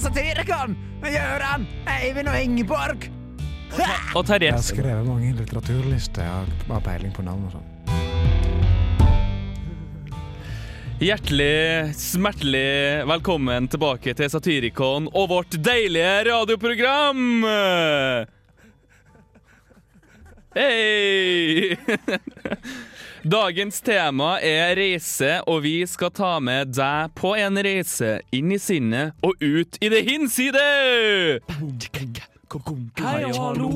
Satirikon! Gøran! Eivind og Ingeborg! Og Terje. Jeg har skrevet mange litteraturlister. Jeg har peiling på navn og sånn. Hjertelig, smertelig velkommen tilbake til Satirikon og vårt deilige radioprogram! Hei! Dagens tema er reise, og vi skal ta med deg på en reise inn i sinnet og ut i det hinside! Hei og hallo,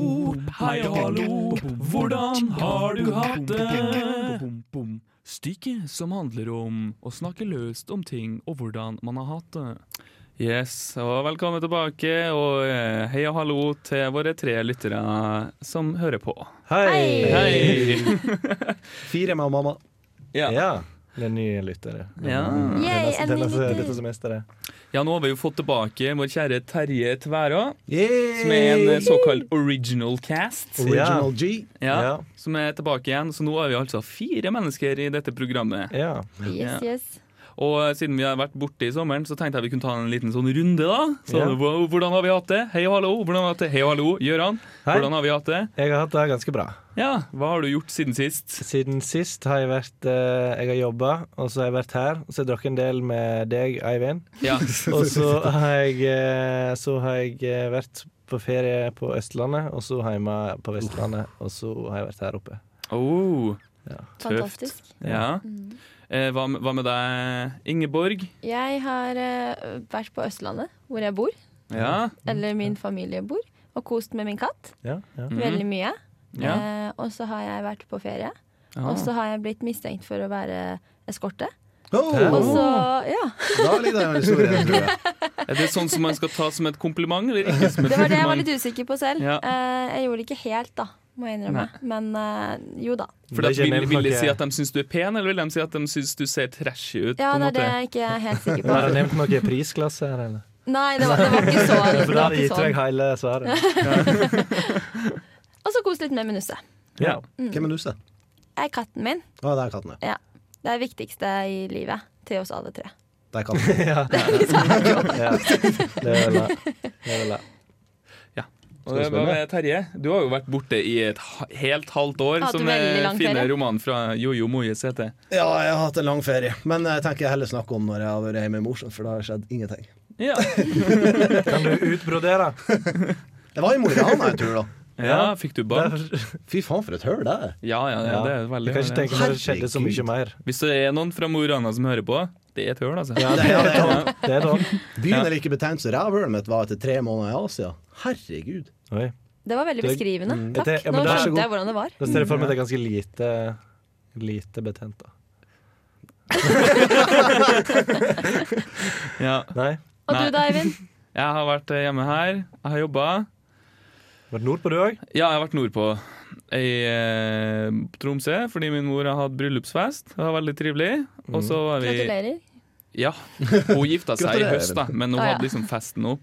hei og hallo, hvordan har du hatt det? Stykket som handler om å snakke løst om ting og hvordan man har hatt det. Yes, og velkommen tilbake, og eh, hei og hallo til våre tre lyttere som hører på. Hei! Hei! Fire med mamma. Ja. Ja. Det er nye lyttere. Ja. Det er neste- Yay, en det er ny neste- lytter. Dette semesteret. ja, nå har vi jo fått tilbake vår kjære Terje Tværa, Yay! som er en eh, såkalt original cast. Original G. Ja, Ja. Som er tilbake igjen, så nå er vi altså fire mennesker i dette programmet. Ja. Yes, yes. Og eh, siden vi har vært borte i sommeren, så tenkte jeg vi kunne ta en liten sånn runde, da. Så, Ja. hva- Hvordan har vi hatt det? Hei og hallo. Hvordan har vi hatt det? Hei og hallo, Gøran. Hei. Hvordan har vi hatt det? Jeg har hatt det ganske bra. Ja, hva har du gjort siden sist? Siden sist har jeg vært eh, Jeg har jobba, og så har jeg vært her. Og så har jeg drukket en del med deg, Eivind. Ja, Og så har jeg, eh, så har jeg eh, vært på ferie på Østlandet, og så hjemme på Vestlandet, og så har jeg vært her oppe. oh, Fantastisk. Mm. ja. Eh, hva, med- hva med deg, Ingeborg? Jeg har eh, vært på Østlandet, hvor jeg bor, Ja. Mm. eller min familie bor, og kost med min katt Ja, ja. veldig mye. ja. Eh, og så har jeg vært på ferie, Ah. og så har jeg blitt mistenkt for å være eskorte. Hæ? Og Oh, så, Ah, ja, da ligger det en historie, tror jeg. Er det sånn som man skal ta som et kompliment, eller ikke som et Det var det jeg var kompliment? litt usikker på selv. Ja. Eh, jeg gjorde det ikke helt, da, må jeg innrømme. Men eh, jo da. For at Det vil, kjenner jeg vil de faktisk- si at de syns du er pen, eller vil de si at de syns du ser trashy ut? Ja, på en det er måte? det jeg ikke er helt sikker Har jeg på. nevnt noe prisklasse her, eller? Nei, det var, det var ikke så. Det For da var hadde jeg ikke gitt vekk sånn. hele svaret. Og så kos litt med Minusse. Ja. Mm. Hvem er Nusse? Jeg er katten min. Å, det er katten, ja. Det er det viktigste i livet til oss alle tre. Det er katten. ja. ja. Det er vel det. det. er vel det. Og det var med Terje. Du har jo vært borte i et ha- helt halvt år, Hatt som veldig den lang fine ferie. romanen fra Jojo Moyes heter. Ja, jeg har hatt en lang ferie, men jeg tenker jeg heller snakke om når jeg har vært hjemme i Mosjøen, for da har det skjedd ingenting. Ja. Kan du utbrodere? Det var i Mo i Rana en tur, da. ja, fikk du barn? Fy faen, for et høl det er. Ja, ja, ja, Ja. det er Du veldig kan ikke veldig- tenke meg at det skjedde så mye Herregud. mer. Hvis det er noen fra Mo i Rana som hører på, det er et høl, altså. Ja, det Ja, er det er tomt. Det er tomt. Byen er like betegnet som rævhølet mitt var etter tre måneder i Asia. Herregud. Oi. Det var veldig Det- Mm. beskrivende. Det- Takk. ja, men Nå det er så skjønte god. jeg hvordan det var. Da ser jeg for meg at det er ganske lite Lite betent, da. Ja. Nei? Og Nei. du da, Eivind? Jeg har vært eh, hjemme her. Jeg har jobba. Var det nordpå, du òg? Ja, jeg har vært nordpå. I eh, Tromsø, fordi min mor har hatt bryllupsfest. Det var veldig trivelig. Mm. Og så var vi Gratulerer. Ja. Hun gifta seg i Gratulerer. høst, da, men hun Ah, ja. hadde liksom festen nå.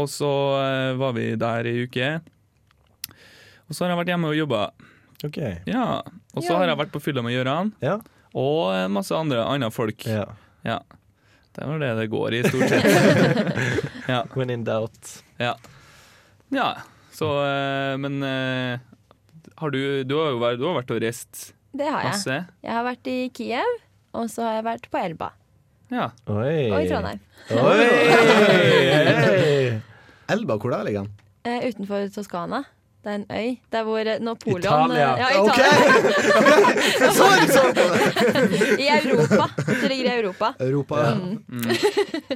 Og så eh, var vi der i uke. Og så har jeg vært hjemme og jobba. OK. Ja. Og så Ja. har jeg vært på fylla med Gøran Ja. og en masse andre andre folk. ja. Ja. Det er vel det det går i, stort sett. When in doubt. Ja. ja. Så, eh, men eh, har du, du har jo vært, du har vært og reist Det har jeg. masse. Jeg har vært i Kiev, og så har jeg vært på Elba. Ja. Oi. Mm. Og i Trondheim. Oi! Hey! Elba, hvor der ligger den? Eh, utenfor Toskana. Det er en øy. Det er hvor eh, Napoleon Italia. Ja, OK! Italia. Jeg så ikke sånn på det! I Europa. Det ligger i Europa. Mm. Europa. Mm.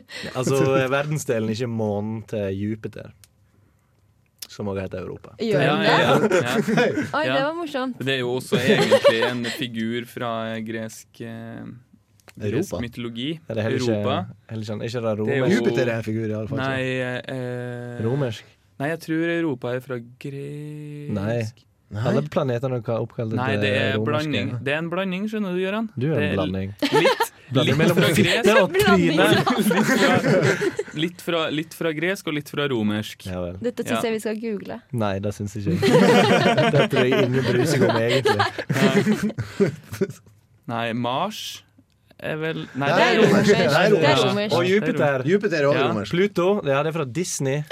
Altså verdensdelen, ikke månen til Jupiter. Som òg heter Europa. Gjør Ja, den ja, det? ja, ja. Oi, Ja. det var morsomt. Det er jo også egentlig en figur fra gresk eh, Gresk Europa. mytologi. Er det heller ikke, Europa. heller ikke, ikke Det det er jo- romersk? Jupiter er en figur, i alle fall. Nei, eh, romersk? nei, jeg tror Europa er fra gresk Nei. Nei. Alle planetene er oppkalt Nei, det er romerske. blanding. Det er en blanding, skjønner du, Gøran. Du er Det en blanding. Litt, litt Blanding mellom fra fitte gresk og tryne. litt fra, litt, fra, litt fra gresk og litt fra romersk. Ja vel. Dette Ja. syns jeg vi skal google. Nei, det syns jeg ikke. Det tror jeg ingen bryr seg om, egentlig. Nei, Mars er vel Nei, Nei, Det er romersk. Det er Det er romersk. romersk. Og Jupiter. Jupiter er også Ja. romersk. Pluto. Ja, det er fra Disney.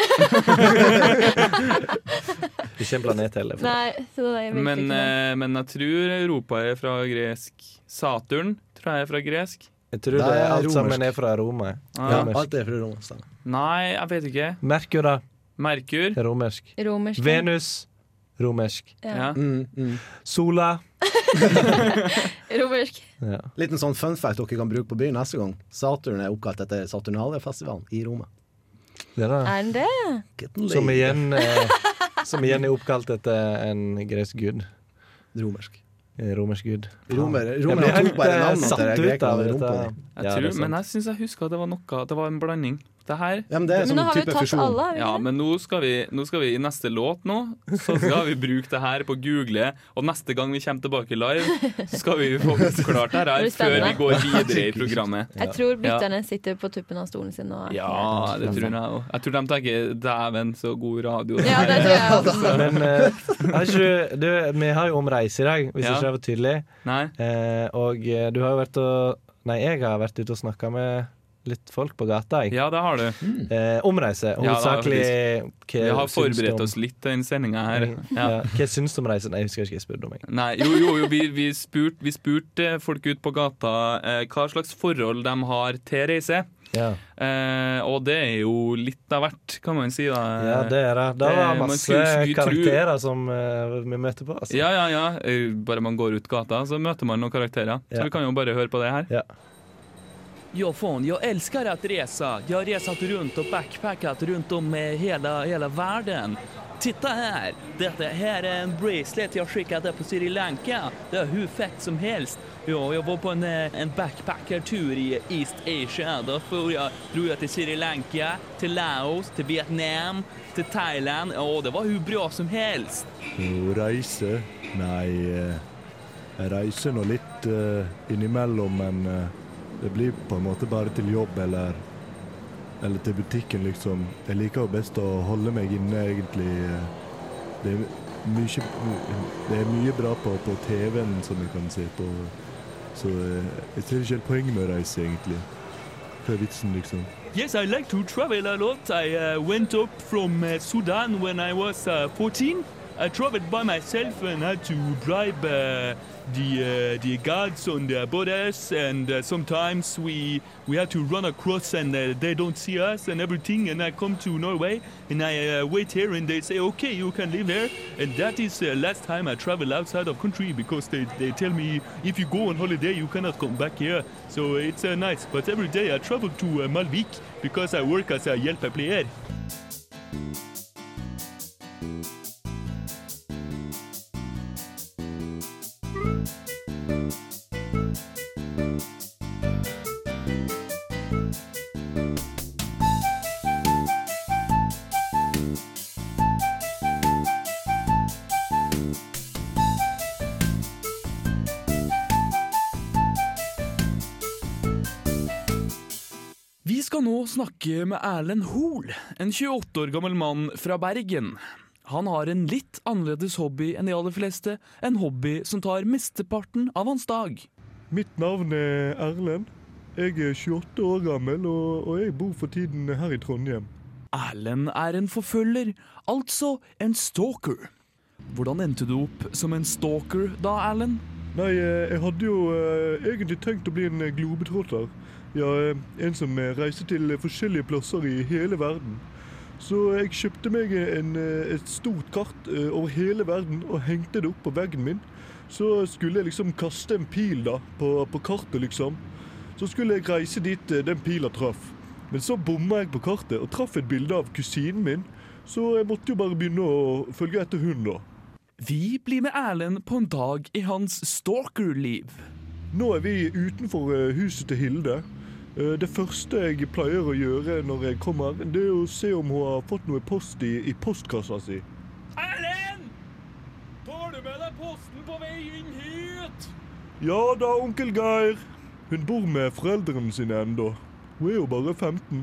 Ikke en planet heller. for- Nei, så det er virkelig Men, ikke noe. eh, men jeg tror Europa er fra gresk. Saturn tror jeg er fra gresk. Jeg tror det Det er alt sammen romersk. er fra Roma. Ja, Ah. romersk. alt er fra romersk. stemmer. Nei, jeg vet ikke. Merkur, da. Merkur. Det er romersk. Romersk. Venus. Romersk. Ja. Ja. Mm, mm. Sola. Romersk. Ja. Liten sånn fun fact dere kan bruke på byen neste gang. Saturn er oppkalt etter Saturnaliafestivalen i Roma. Det er det. Er den det? Getting Som late. igjen, eh, som igjen er oppkalt etter en gresk gud. Romersk. En Romersk gud. Romer, Jeg blir romer helt, tok bare eh, navnet satt til ut av grekerne dette. og rumpa di. Jeg Ja, det er tror, sant. men jeg syns jeg husker at det var noe Det var en blanding. Det her Ja, men det er Men nå sånn har vi type tatt fusjon. alle, har vi Ja, ikke det? men nå skal, vi, nå skal vi i neste låt nå, så skal vi bruke det her på Google, og neste gang vi kommer tilbake live, så skal vi få oppklart det Det blir her før spennende. vi går videre i programmet. Jeg tror lytterne sitter på tuppen av stolen sin og Ja, det tror jeg òg. Jeg tror de tenker 'dæven, så god radio'. Ja, det tror jeg også. Mm. Men eh, har ikke, du, vi har jo om reise i dag, hvis Ja. ikke det var tydelig. Nei? Eh, og eh, du har jo vært og Nei, jeg har vært ute og snakka med litt folk på gata. Jeg. Ja, det har du. Mm. Eh, om reise, det har jeg hovedsakelig. hva Vi har syns du om- forberedt oss litt til den sendinga her. Ja. Hva syns du om reisen? Nei, Jeg husker ikke, jeg spurte om jeg. Nei, jo, jo, jo vi, vi spurte vi spurte folk ut på gata eh, hva slags forhold de har til reise. Ja. Eh, og det er jo litt av hvert, kan man si. da. ja, det er det. Det Eh, var man masse skulle- skulle tro- karakterer som eh, vi møter på. Altså. Ja, ja, ja. Eh, Bare man går ut gata, så møter man noen karakterer. Ja. Så vi kan jo bare høre på det her. Ja. Ja, fan, jag älskar att resa. Jag har resat runt och backpackat runt om eh, hela, hela världen. Titta här! Detta här är en bracelet jag skickade på Sri Lanka. Det är hur fett som helst. Ja, jag var på en, eh, en backpackertur i East Asia. Då for jag, drog jag till Sri Lanka, till Laos, till Vietnam, till Thailand. Ja, det var hur bra som helst. Jo, reise Nei, eh, jeg reiser nå litt eh, innimellom, men eh, det blir på en måte bare til jobb eller eller til butikken, liksom. Jeg liker jo best å holde meg inne, egentlig. eh. Det er, mye, det er mye bra på, på TV-en som jeg kan se på, så eh, jeg ser ikke helt poenget med å reise, egentlig. Hva er vitsen, liksom? Yes, I like to travel a lot. I uh, went up from uh, Sudan when I was uh, 14. I traveled by myself and had to bribe uh, the uh, the guards on the borders, and uh, sometimes we we had to run across and uh, they don't see us and everything. And I come to Norway and I uh, wait here and they say, okay, you can live here. And that is uh, last time I travel outside of country because they, they tell me if you go on holiday you cannot come back here. So it's uh, nice. But every day I travel to uh, Malvik because I work as a hjälpa player. Vi skal nå snakke med Erlend Hoel, en 28 år gammel mann fra Bergen. Han har en litt annerledes hobby enn de aller fleste, en hobby som tar mesteparten av hans dag. Mitt navn er Erlend. Jeg er 28 år gammel, og, og jeg bor for tiden her i Trondheim. Erlend er en forfølger, altså en stalker. Hvordan endte du opp som en stalker da, Erlend? Nei, eh, jeg hadde jo eh, egentlig tenkt å bli en eh, globetrotter. Ja, eh, en som eh, reiser til eh, forskjellige plasser i hele verden. Så jeg kjøpte meg en, eh, et stort kart eh, over hele verden og hengte det opp på veggen min. Så skulle jeg liksom kaste en pil da, på, på kartet liksom. Så skulle jeg reise dit eh, den pila traff. Men så bomma jeg på kartet og traff et bilde av kusinen min. Så jeg måtte jo bare begynne å følge etter hun da. Vi blir med Erlend på en dag i hans stalkerliv. Nå er vi utenfor eh, huset til Hilde. Eh, Det første jeg pleier å gjøre når jeg kommer, det er å se om hun har fått noe post i, i postkassa si. Erlend! Tar du med deg posten på vei inn hit? Ja da, onkel Geir. Hun bor med foreldrene sine ennå. Hun er jo bare 15.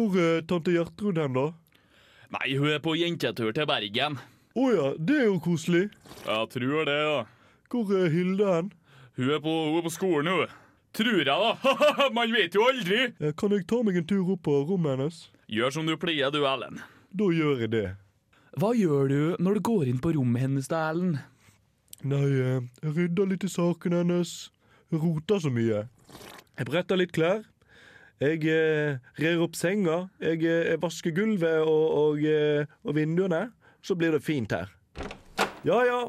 Hvor er tante Gjertrud hen, da? Nei, hun er på jentetur til Bergen. Å ja, det er jo koselig. Jeg tror det, ja. Hvor er Hilde hen? Hun er på, hun er på skolen, hun. Tror jeg, da. Man vet jo aldri. Eh, Kan jeg ta meg en tur opp på rommet hennes? Gjør som du pleier, du, Ellen. Da gjør jeg det. Hva gjør du når du går inn på rommet hennes, da, Ellen? Nei, eh, jeg rydder litt i saken hennes. Hun roter så mye. Jeg bretter litt klær. Jeg eh, rer opp senga. Jeg, eh, jeg vasker gulvet og, og, eh, og vinduene. Så blir det fint her. Ja ja.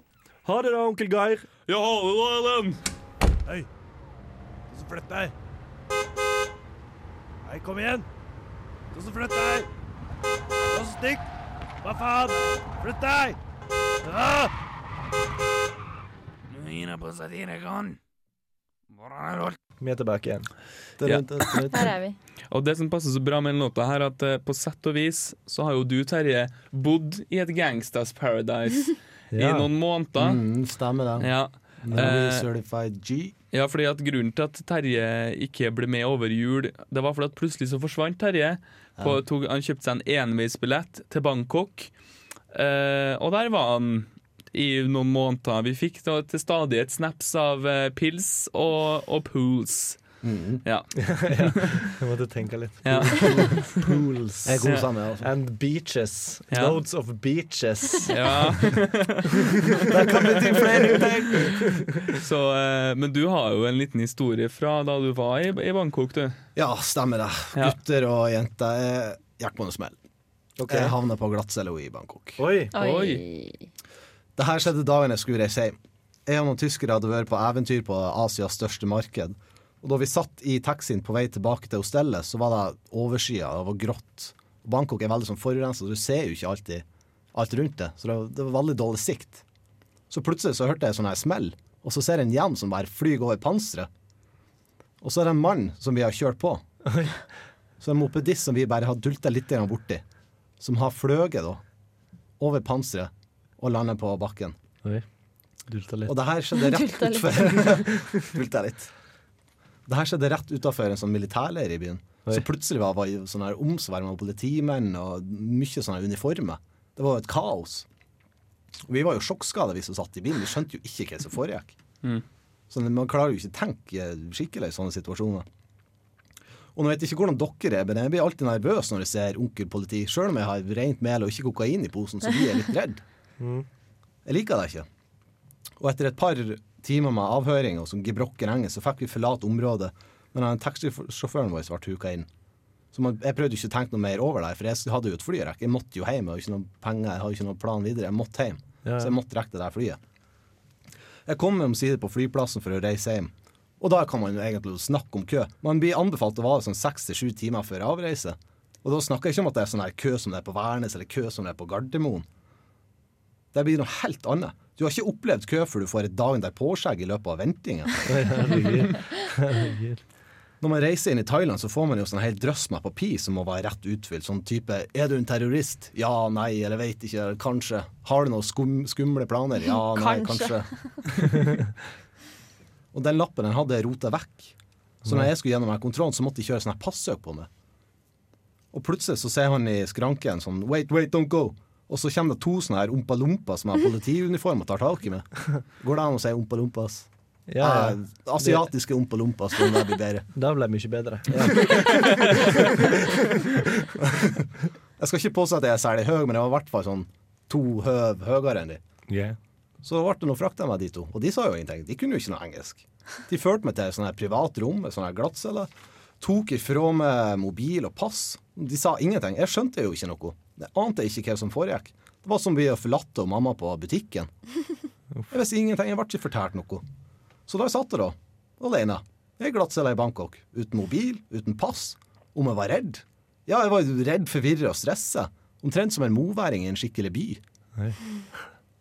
Ha det da, onkel Geir. Ja, hallo, Ellen. Så flytt deg! Nei, kom igjen! Så så flytt deg! Så så stikk! Hva faen? Flytt deg! Ja! Vi er tilbake igjen. Ja. Her er vi. Og det som passer så bra med den låta her, at eh, på sett og vis så har jo du, Terje, bodd i et gangsters paradise i noen måneder. Mm, stemmer det. Ja. Nå er vi Eh, certified G. ja, fordi at grunnen til at Terje ikke ble med over jul, det var fordi at plutselig så forsvant Terje. På, tok, han kjøpte seg en enveisbillett til Bangkok, eh, og der var han i noen måneder. Vi fikk da til stadighet snaps av eh, pils og, og pools. Ja. Mm. Jeg måtte tenke litt. ja. Pools. Jeg koser meg, altså. And beaches. Ja. Loads of beaches. Ja. Så, eh, men du har jo en liten historie fra da du var i, i Bangkok, du. Ja, stemmer det. Ja. Gutter og jenter eh, gikk på en smell. Jeg havna på glattcella i Bangkok. Oi! Oi. Det her skjedde dagen jeg skulle reise hjem. Jeg og noen tyskere hadde vært på eventyr på Asias største marked. Og da vi satt i taxien på vei tilbake til hostellet, så var det overskya, det var grått. Bangkok er veldig sånn forurensa, så du ser jo ikke alltid alt rundt det. Så det var, det var veldig dårlig sikt. Så plutselig så hørte jeg sånn her smell, og så ser jeg en hjelm som bare flyr over panseret. Og så er det en mann som vi har kjørt på. Så en mopedist som vi bare har dulta litt grann borti, som har fløyet da over panseret og lander på bakken. Dulta litt. Og det her skjedde rett Dulta litt. utfor Dulta litt. Det her skjedde rett utenfor en sånn militærleir i byen. Oi. Så plutselig var det sånn her omsverm av politimenn og mye sånne uniformer. Det var jo et kaos. Og vi var jo sjokkskada, vi som satt i bilen. Vi skjønte jo ikke hva som foregikk. Så Sånn man klarer jo ikke å tenke skikkelig i sånne situasjoner. Og nå vet jeg ikke hvordan dere er, men jeg blir alltid nervøs når jeg ser onkel politi. Sjøl om jeg har rent mel og ikke kokain i posen, så blir jeg litt redd. Mm. Jeg liker det ikke. Og etter et par timer med avhøring og som gebrokken engel, så fikk vi forlate området. Men han taxisjåføren vår ble huka inn. Så man, jeg prøvde ikke å tenke noe mer over det, for jeg hadde jo et flyrekk. Jeg måtte jo hjem. Jeg hadde ikke noen penger, jeg hadde ikke noen plan videre. Jeg måtte hjem. Ja, ja. Så jeg måtte rekke det der flyet. Jeg kom meg omsider på flyplassen for å reise hjem. Og da kan man jo egentlig snakke om kø. Man blir anbefalt å være sånn seks til sju timer før avreise. Og da snakker jeg ikke om at det er sånn her kø som det er på Værnes, eller kø som det er på Gardermoen. Det blir noe helt annet. Du har ikke opplevd kø før du får et dagen derpå-skjegg i løpet av ventinga. Herregud. Herregud. Når man reiser inn i Thailand, så får man jo sånn hel drøss med papir som må være rett utfylt. Sånn type 'Er du en terrorist?' 'Ja, nei, eller veit ikke, eller kanskje'. 'Har du noen skum, skumle planer?' 'Ja, nei, kanskje'. Kanskje. og den lappen den hadde jeg rota vekk. Så når jeg skulle gjennom her kontrollen, så måtte de kjøre sånn her passøk på meg. Og plutselig så ser han i skranken sånn 'Wait, wait, don't go'. Og så kommer det to sånne her ompa-lompa som har politiuniform og tar tak i meg. Går det an å si ompa-lompas? Ja, ja. Eh, asiatiske ompa-lompas, om det blir bedre. Da ble det mye bedre. Jeg skal ikke påstå at jeg er særlig høy, men jeg var i hvert fall sånn to høv høyere enn de. Så ble det noe frakta med de to, og de sa jo ingenting. De kunne jo ikke noe engelsk. De førte meg til et sånt her privat rom med sånn her glattcelle. Tok ifra meg mobil og pass. De sa ingenting. Jeg skjønte jo ikke noe. Jeg ante ikke hva som foregikk. Det var som vi forlatte og mamma på butikken. Jeg visste ingenting. Jeg ble ikke fortalt noe. Så da satt jeg da, alene, i ei glattcelle i Bangkok. Uten mobil, uten pass. Om jeg var redd? Ja, jeg var jo redd, forvirra og stressa. Omtrent som en moværing i en skikkelig by.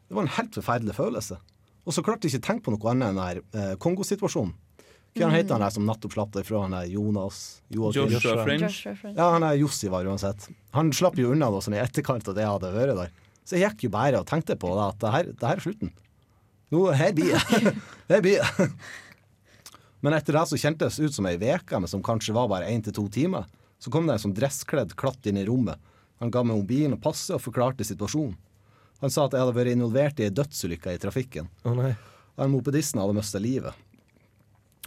Det var en helt forferdelig følelse. Og så klarte jeg ikke å tenke på noe annet enn den her, eh, Kongo-situasjonen. Hva han heter han der som nettopp slapp det fra han der Jonas Joakim? Joshua Fringe. Joshua French. Ja, han er Jossivar uansett. Han slapp jo unna da, sånn i etterkant av det jeg hadde vært der. Så jeg gikk jo bare og tenkte på det, at det her, det her er slutten. Nå, her blir jeg. Her blir jeg. Men etter det så kjentes det ut som ei uke, men som kanskje var bare én til to timer. Så kom det en sånn dresskledd klatt inn i rommet. Han ga meg mobilen og passet og forklarte situasjonen. Han sa at jeg hadde vært involvert i ei dødsulykke i trafikken. Å nei. Den mopedisten hadde mista livet.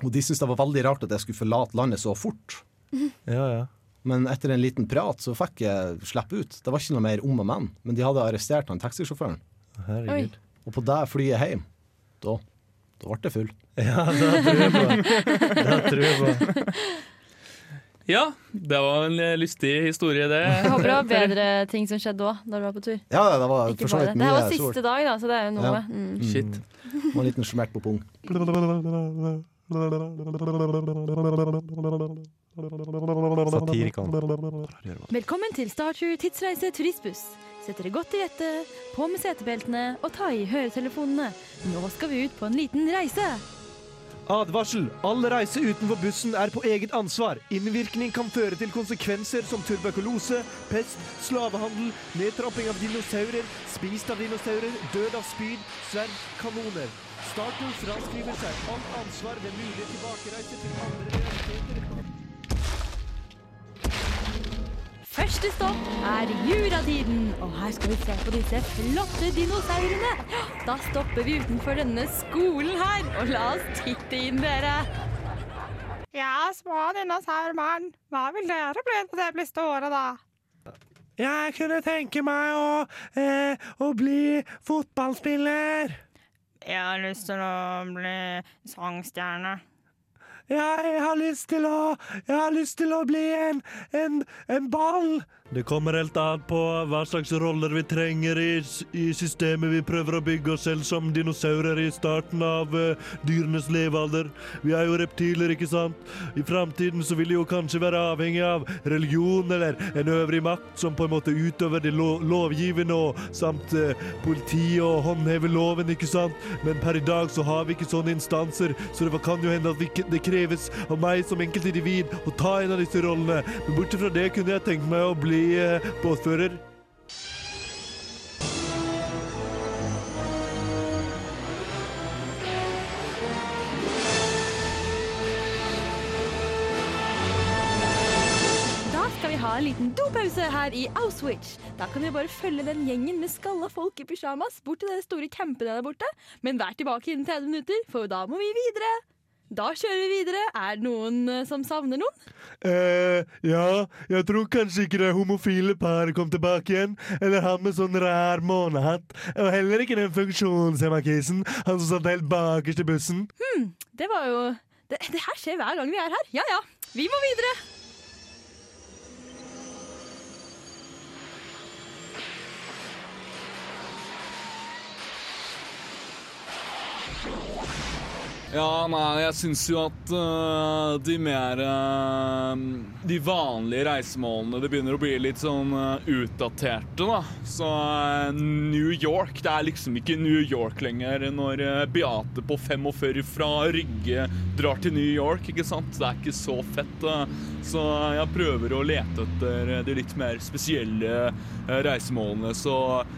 Og de syntes det var veldig rart at jeg skulle forlate landet så fort. Ja, ja. Men etter en liten prat så fikk jeg slippe ut. Det var ikke noe mer om og men, men de hadde arrestert han taxisjåføren. Oi. Herregud. Og på det flyet hjem, da, da ble jeg full. Ja, det tror jeg på. Det tror jeg på. Ja, det var en eh, lystig historie, det. Eh, Jeg håper det var bedre ting som skjedde òg, da du var på tur. Ja, det var Ikke for så bare det. vidt Det her mye var sort. siste dag, da, så det er jo noe. Ja. Mm. Shit. Og en liten smert på pung. Satirikon. Velkommen til Starter tidsreise turistbuss. Sett dere godt til rette, på med setebeltene og ta i høretelefonene. Nå skal vi ut på en liten reise. Advarsel! All reise utenfor bussen er på eget ansvar. Innvirkning kan føre til konsekvenser som tuberkulose, pest, slavehandel, nedtrapping av dinosaurer, spist av dinosaurer, død av spyd, sverd, kanoner. Status fraskriver seg alt ansvar ved mulig tilbakereise til andre realiteter. Første stopp er juratiden, og her skal vi se på disse flotte dinosaurene. Da stopper vi utenfor denne skolen her, og la oss titte inn, dere. Ja, små dinosaurbarn, hva vil dere bli når dere blir store, da? Jeg kunne tenke meg å, eh, å bli fotballspiller. Jeg har lyst til å bli sangstjerne. Jeg har lyst til å Jeg har lyst til å bli en, en, en ball. Det kommer helt an på hva slags roller vi trenger i, s- i systemet vi prøver å bygge oss selv som dinosaurer i starten av eh, dyrenes levealder. Vi er jo reptiler, ikke sant? I framtiden så vil de jo kanskje være avhengig av religion eller en øvrig makt som på en måte utøver det lo lovgivende og samt eh, politi og håndhever loven, ikke sant? Men per i dag så har vi ikke sånne instanser, så det kan jo hende at vi, ikke- det kreves av meg som enkeltindivid å ta en av disse rollene. Men bortsett fra det kunne jeg tenkt meg å bli eh, båtfører. Da skal vi ha en liten dopause her i Auschwitz. Da kan vi bare følge den gjengen med skalla folk i pysjamas bort til den store campen der borte, men vær tilbake innen 30 minutter, for da må vi videre. Da kjører vi videre. Er det noen eh, som savner noen? Eh, ja, jeg tror kanskje ikke det homofile paret kom tilbake igjen. Eller han med sånn rar månehatt. Og heller ikke den funksjonshemma kisen, han som satt helt bakerst i bussen. Hmm, Det var jo det, det her skjer hver gang vi er her. Ja ja, vi må videre. Ja, nei, jeg syns jo at øh, de mer øh, De vanlige reisemålene det begynner å bli litt sånn øh, utdaterte, da. Så øh, New York Det er liksom ikke New York lenger når øh, Beate på 45 fra Rygge drar til New York, ikke sant? Det er ikke så fett. da. Så jeg prøver å lete etter øh, de litt mer spesielle øh, reisemålene. Så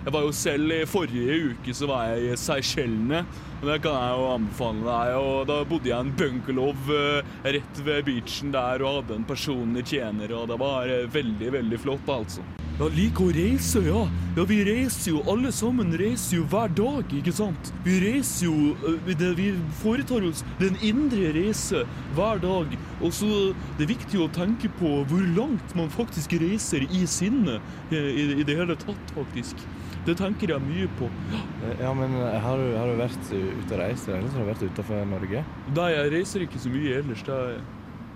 jeg var jo selv i forrige uke så var jeg i Seychellene. Og det kan jeg jo anbefale deg. Og da bodde jeg i en bungalow eh, rett ved beachen der og hadde en personlig tjener, og det var eh, veldig, veldig flott, altså. Jeg liker å reise, ja. Ja, Vi reiser jo, alle sammen reiser jo hver dag, ikke sant? Vi reiser jo eh, det, Vi foretar oss den indre reise hver dag. Og så det er viktig å tenke på hvor langt man faktisk reiser i sinnet. eh, I, i det hele tatt, faktisk. Det tenker jeg mye på. Eh, Ja, men har du, har du vært ute og reist, eller har du vært utenfor Norge? Nei, jeg reiser ikke så mye ellers. Det er-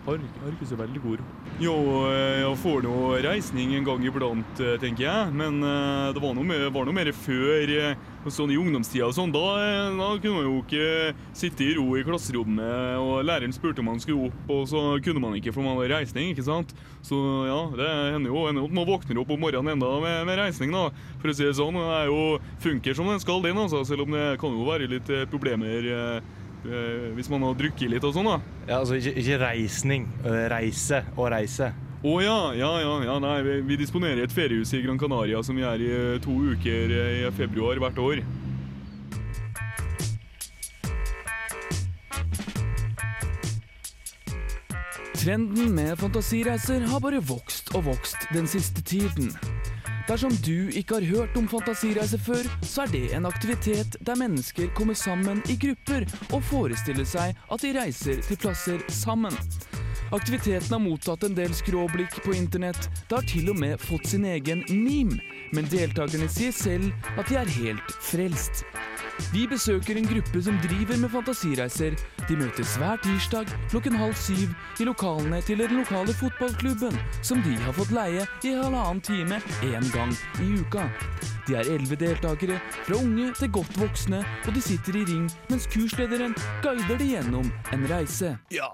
har, ikke- har ikke så veldig god råd. Jo, eh, jeg får nå reisning en gang iblant, eh, tenker jeg. Men eh, det var noe mer, var noe mer før, eh, og sånn i ungdomstida og sånn. Da, eh, da kunne man jo ikke sitte i ro i klasserommet, og læreren spurte om man skulle opp, og så kunne man ikke, for man hadde reisning, ikke sant? Så ja, det hender jo hender jo at man våkner opp om morgenen enda med, med reisning, da. For å si det sånn, det er jo funker som den skal, den, altså. Selv om det kan jo være litt eh, problemer. Eh, Eh, hvis man har drukket litt og sånn, da. Ja, altså ikke, ikke reisning. eh, Reise og reise. Å ja, ja, ja, ja, nei, vi, vi disponerer et feriehus i Gran Canaria som vi er i eh, to uker eh, i februar hvert år. Trenden med fantasireiser har bare vokst og vokst den siste tiden. Dersom du ikke har hørt om fantasireise før, så er det en aktivitet der mennesker kommer sammen i grupper og forestiller seg at de reiser til plasser sammen. Aktiviteten har mottatt en del skråblikk på internett. Det har til og med fått sin egen meme, men deltakerne sier selv at de er helt frelst. Vi besøker en gruppe som driver med fantasireiser. De møtes hver tirsdag klokken halv syv i lokalene til den lokale fotballklubben, som de har fått leie i halvannen time én gang i uka. De er elleve deltakere, fra unge til godt voksne, og de sitter i ring mens kurslederen guider de gjennom en reise. Ja,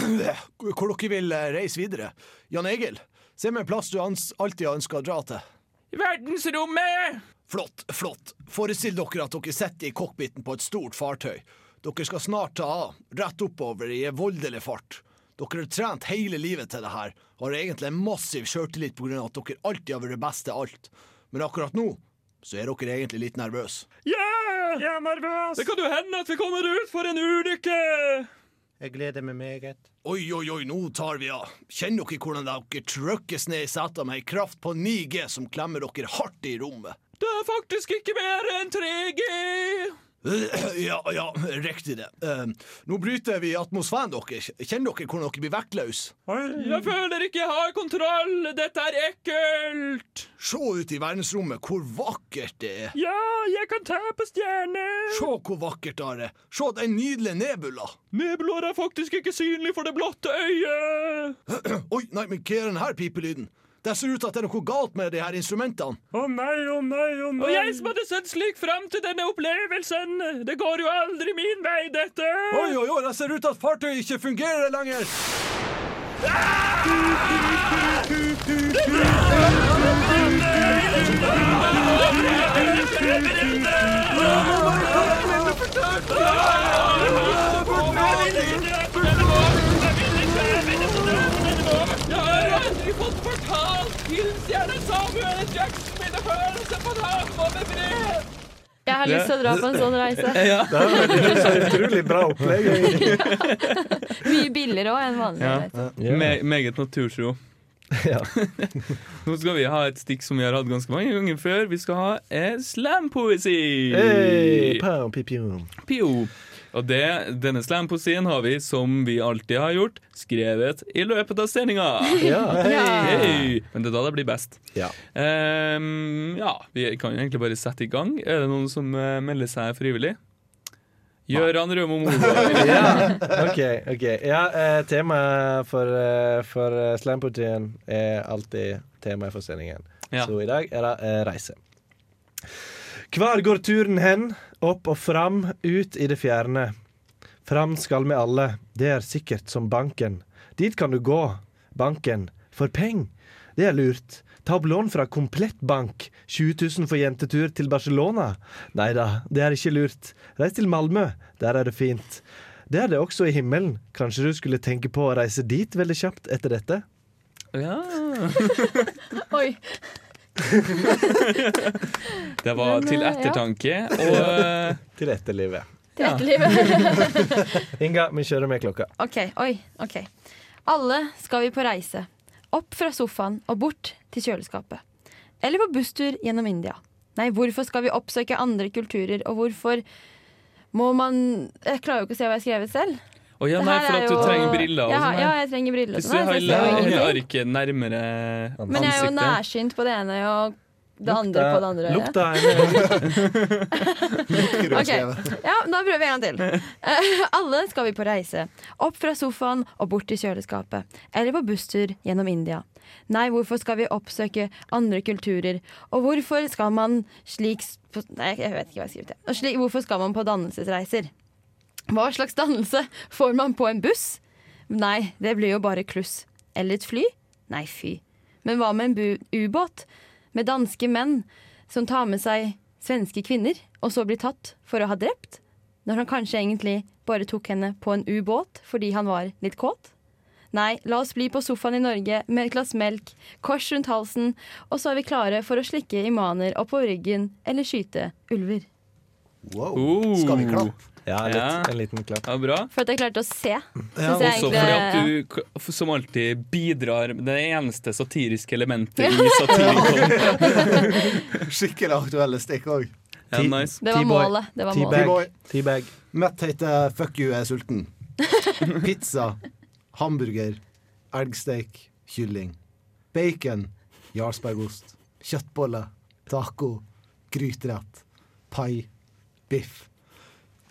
hvor dere vil eh, reise videre. Jan Egil, se meg en plass du ans alltid har ønska å dra til. Verdensrommet! Flott, flott. Forestill dere at dere sitter i cockpiten på et stort fartøy. Dere skal snart ta av, rett oppover i en voldelig fart. Dere har trent hele livet til det her, og har egentlig en massiv sjøltillit pga. at dere alltid har vært best til alt. Men akkurat nå så er dere egentlig litt nervøse. Yeah! Jeg er nervøs! Det kan jo hende at vi kommer ut for en ulykke! Jeg gleder meg meget. Oi, oi, oi, nå tar vi av. Kjenner dere hvordan dere trykkes ned i setene med ei kraft på 9G som klemmer dere hardt i rommet? Det er faktisk ikke mer enn 3G! Ja, ja, riktig det. Eh, nå bryter vi atmosfæren deres. Kjenner dere hvordan dere blir vektløse? Jeg føler ikke jeg har kontroll! Dette er ekkelt! Se ut i verdensrommet hvor vakkert det er. Ja, jeg kan ta på stjerner! Se hvor vakkert det er. Se den nydelige nebula. Nebulaer er faktisk ikke synlig for det blotte øyet! Oi, nei, men hva er den her pipelyden? Det ser ut til at det er noe galt med de her instrumentene. Å nei, å nei, å nei. Og jeg som hadde sett slik fram til denne opplevelsen! Det går jo aldri min vei, dette! Oi, oi, oi, det ser ut til at fartøyet ikke fungerer lenger. Jeg har aldri fått fortalt filmstjernen Samuel Jackson mine følelser på ham og med brev! Jeg har lyst til å dra på en sånn reise. Ja. Det er veldig- så utrolig bra opplegg. egentlig. Mye billigere òg enn vanlig. Ja. reise. Me meget naturtro. Nå skal vi ha et stikk som vi har hatt ganske mange ganger før. Vi skal ha eh, slampoesi. Hey, pow, pi, pium. Pio. Og det, denne slampoesien har vi, som vi alltid har gjort, skrevet i løpet av sendinga. Ja. Ja. Hei. Men det er da det blir best. Ja. Ehm, ja, vi kan jo egentlig bare sette i gang. Er det noen som eh, melder seg frivillig? Gøran Rømo Mogård. ja, ok. ok ja, eh, Temaet for, eh, for eh, slampoesien er alltid temaet for sendingen. Ja. Så i dag er det eh, reise. Hvar går turen hen? Opp og fram, ut i det fjerne. Fram skal vi alle, det er sikkert som banken. Dit kan du gå, banken, for peng. Det er lurt. Ta opp lån fra Komplett Bank. 20 000 for jentetur til Barcelona. Nei da, det er ikke lurt. Reis til Malmö, der er det fint. Det er det også i himmelen. Kanskje du skulle tenke på å reise dit veldig kjapt etter dette? Ja. Oi. Det var Men, til eh, ja. ettertanke. Og eh, Til etterlivet. Til etterlivet. Inga, vi kjører med klokka. OK. Oi. OK. Alle skal vi på reise. Opp fra sofaen og bort til kjøleskapet. Eller på busstur gjennom India. Nei, hvorfor skal vi oppsøke andre kulturer, og hvorfor må man Jeg klarer jo ikke å se hva jeg har skrevet selv. Å ja, Det nei, her for er at du jo- trenger briller og Ja, sånn. her. ja, jeg trenger briller og Hvis sånn du her, så jeg ser jo holder hele ingenting. arket nærmere Men jeg er jo ansiktet nærsynt på det ene og det andre på det andre øyet. Ok, ja, Da prøver vi en gang til. Eh, alle skal vi på reise. Opp fra sofaen og bort til kjøleskapet. Eller på busstur gjennom India. Nei, hvorfor skal vi oppsøke andre kulturer? Og hvorfor skal man slik s- på- Nei, jeg vet ikke hva jeg skrev til. Og slik, hvorfor skal man på dannelsesreiser? Hva slags dannelse får man på en buss? Nei, det blir jo bare kluss. Eller et fly? Nei, fy. Men hva med en bu- ubåt? Med danske menn som tar med seg svenske kvinner, og så blir tatt for å ha drept? Når han kanskje egentlig bare tok henne på en ubåt fordi han var litt kåt? Nei, la oss bli på sofaen i Norge med et glass melk, kors rundt halsen, og så er vi klare for å slikke imaner opp på ryggen eller skyte ulver. Wow. Skal vi klappe? Ja, litt, en liten klapp. Uh. Ja, bra. For at jeg klarte å se. Ja, Synes jeg også egentlig- fordi at du k- f- som alltid bidrar med det eneste satiriske elementet i satirikon. Skikkelig aktuelle stikk òg. Ja, nice. Det var T-boy. målet, det var målet. Teabag. Mett heter 'fuck you, jeg er sulten'. Pizza, hamburger, elgsteik, kylling. Bacon, jarlsbergost, kjøttboller, taco, gryterett, pai, biff.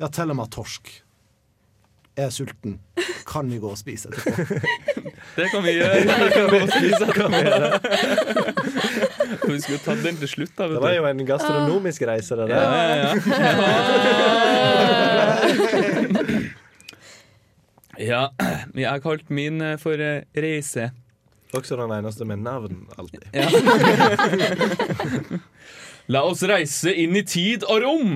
Ja, til og med torsk. Jeg er sulten. Kan vi gå og spise etterpå? Det kan vi gjøre. Det kan vi også spise etterpå. Vi skulle tatt den til slutt, da. vet Det var du. jo en Ah. gastronomisk reise, det der. Ja, ja, ja. ja, jeg har kalt min eh, for eh, reise. Også den eneste med navn, alltid. Ja. La oss reise inn i tid og rom.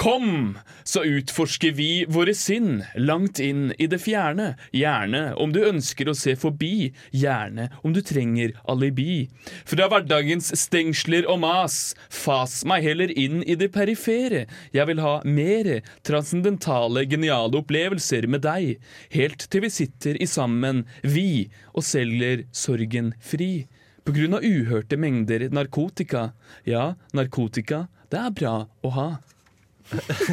Kom, så utforsker vi våre sinn langt inn i det fjerne. Gjerne om du ønsker å se forbi, gjerne om du trenger alibi. Fra hverdagens stengsler og mas, fas meg heller inn i det perifere. Jeg vil ha mere transcendentale, geniale opplevelser med deg, helt til vi sitter i sammen, vi, og selger sorgen fri. På grunn av uhørte mengder narkotika. Ja, narkotika, det er bra å ha. Eh,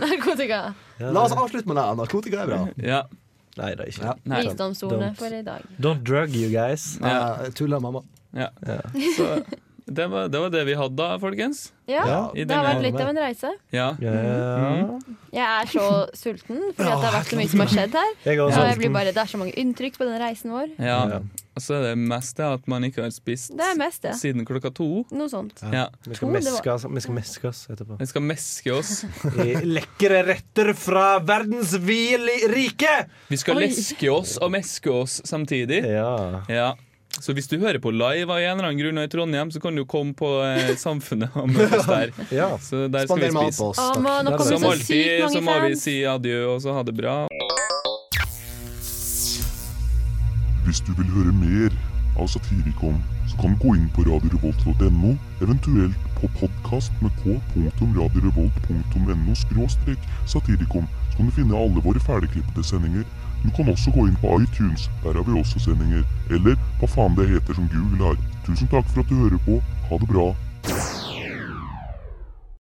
Narkotika. La oss avslutte med det. Narkotika er bra. Ja. Nei, det er ikke Visdomsordene for i dag. Don't drug you guys. Ja. Tulla mamma. ja. Så det var, det var det vi hadde da, folkens. Ja, I det har denne- vært litt av en reise. Ja. Mhm. Jeg er så sulten, fordi at det har vært så mye som har skjedd her. Jeg er Og også jeg sulten. blir bare, Det er så mange inntrykk på den reisen vår. ja. Og så er det mest det at man ikke har spist Det er mest det. siden klokka to. Noe sånt. Ja. Vi skal, meske, oss- vi skal meske oss etterpå. Vi skal meske oss. I Lekre retter fra verdens vide rike! Vi skal Oi. leske oss og meske oss samtidig. Ja. Så hvis du hører på live av en eller annen grunn og i Trondheim, så kan du komme på eh, Samfunnet og møte oss der. Ja. Så der skal Spander vi mat spise. på oss, Å, takk. må- nå kommer det Som så sykt mange alltid så må vi fans. si adjø og så ha det bra. Hvis du vil høre mer av Satirikon, så kan du gå inn på radiorevolt.no, eventuelt på podkast med k.radiorevolt.no skråstrek satirikon, så kan du finne alle våre ferdigklipte sendinger. Du kan også gå inn på iTunes, der har vi også sendinger. Eller hva faen det heter som Google har. Tusen takk for at du hører på. Ha det bra.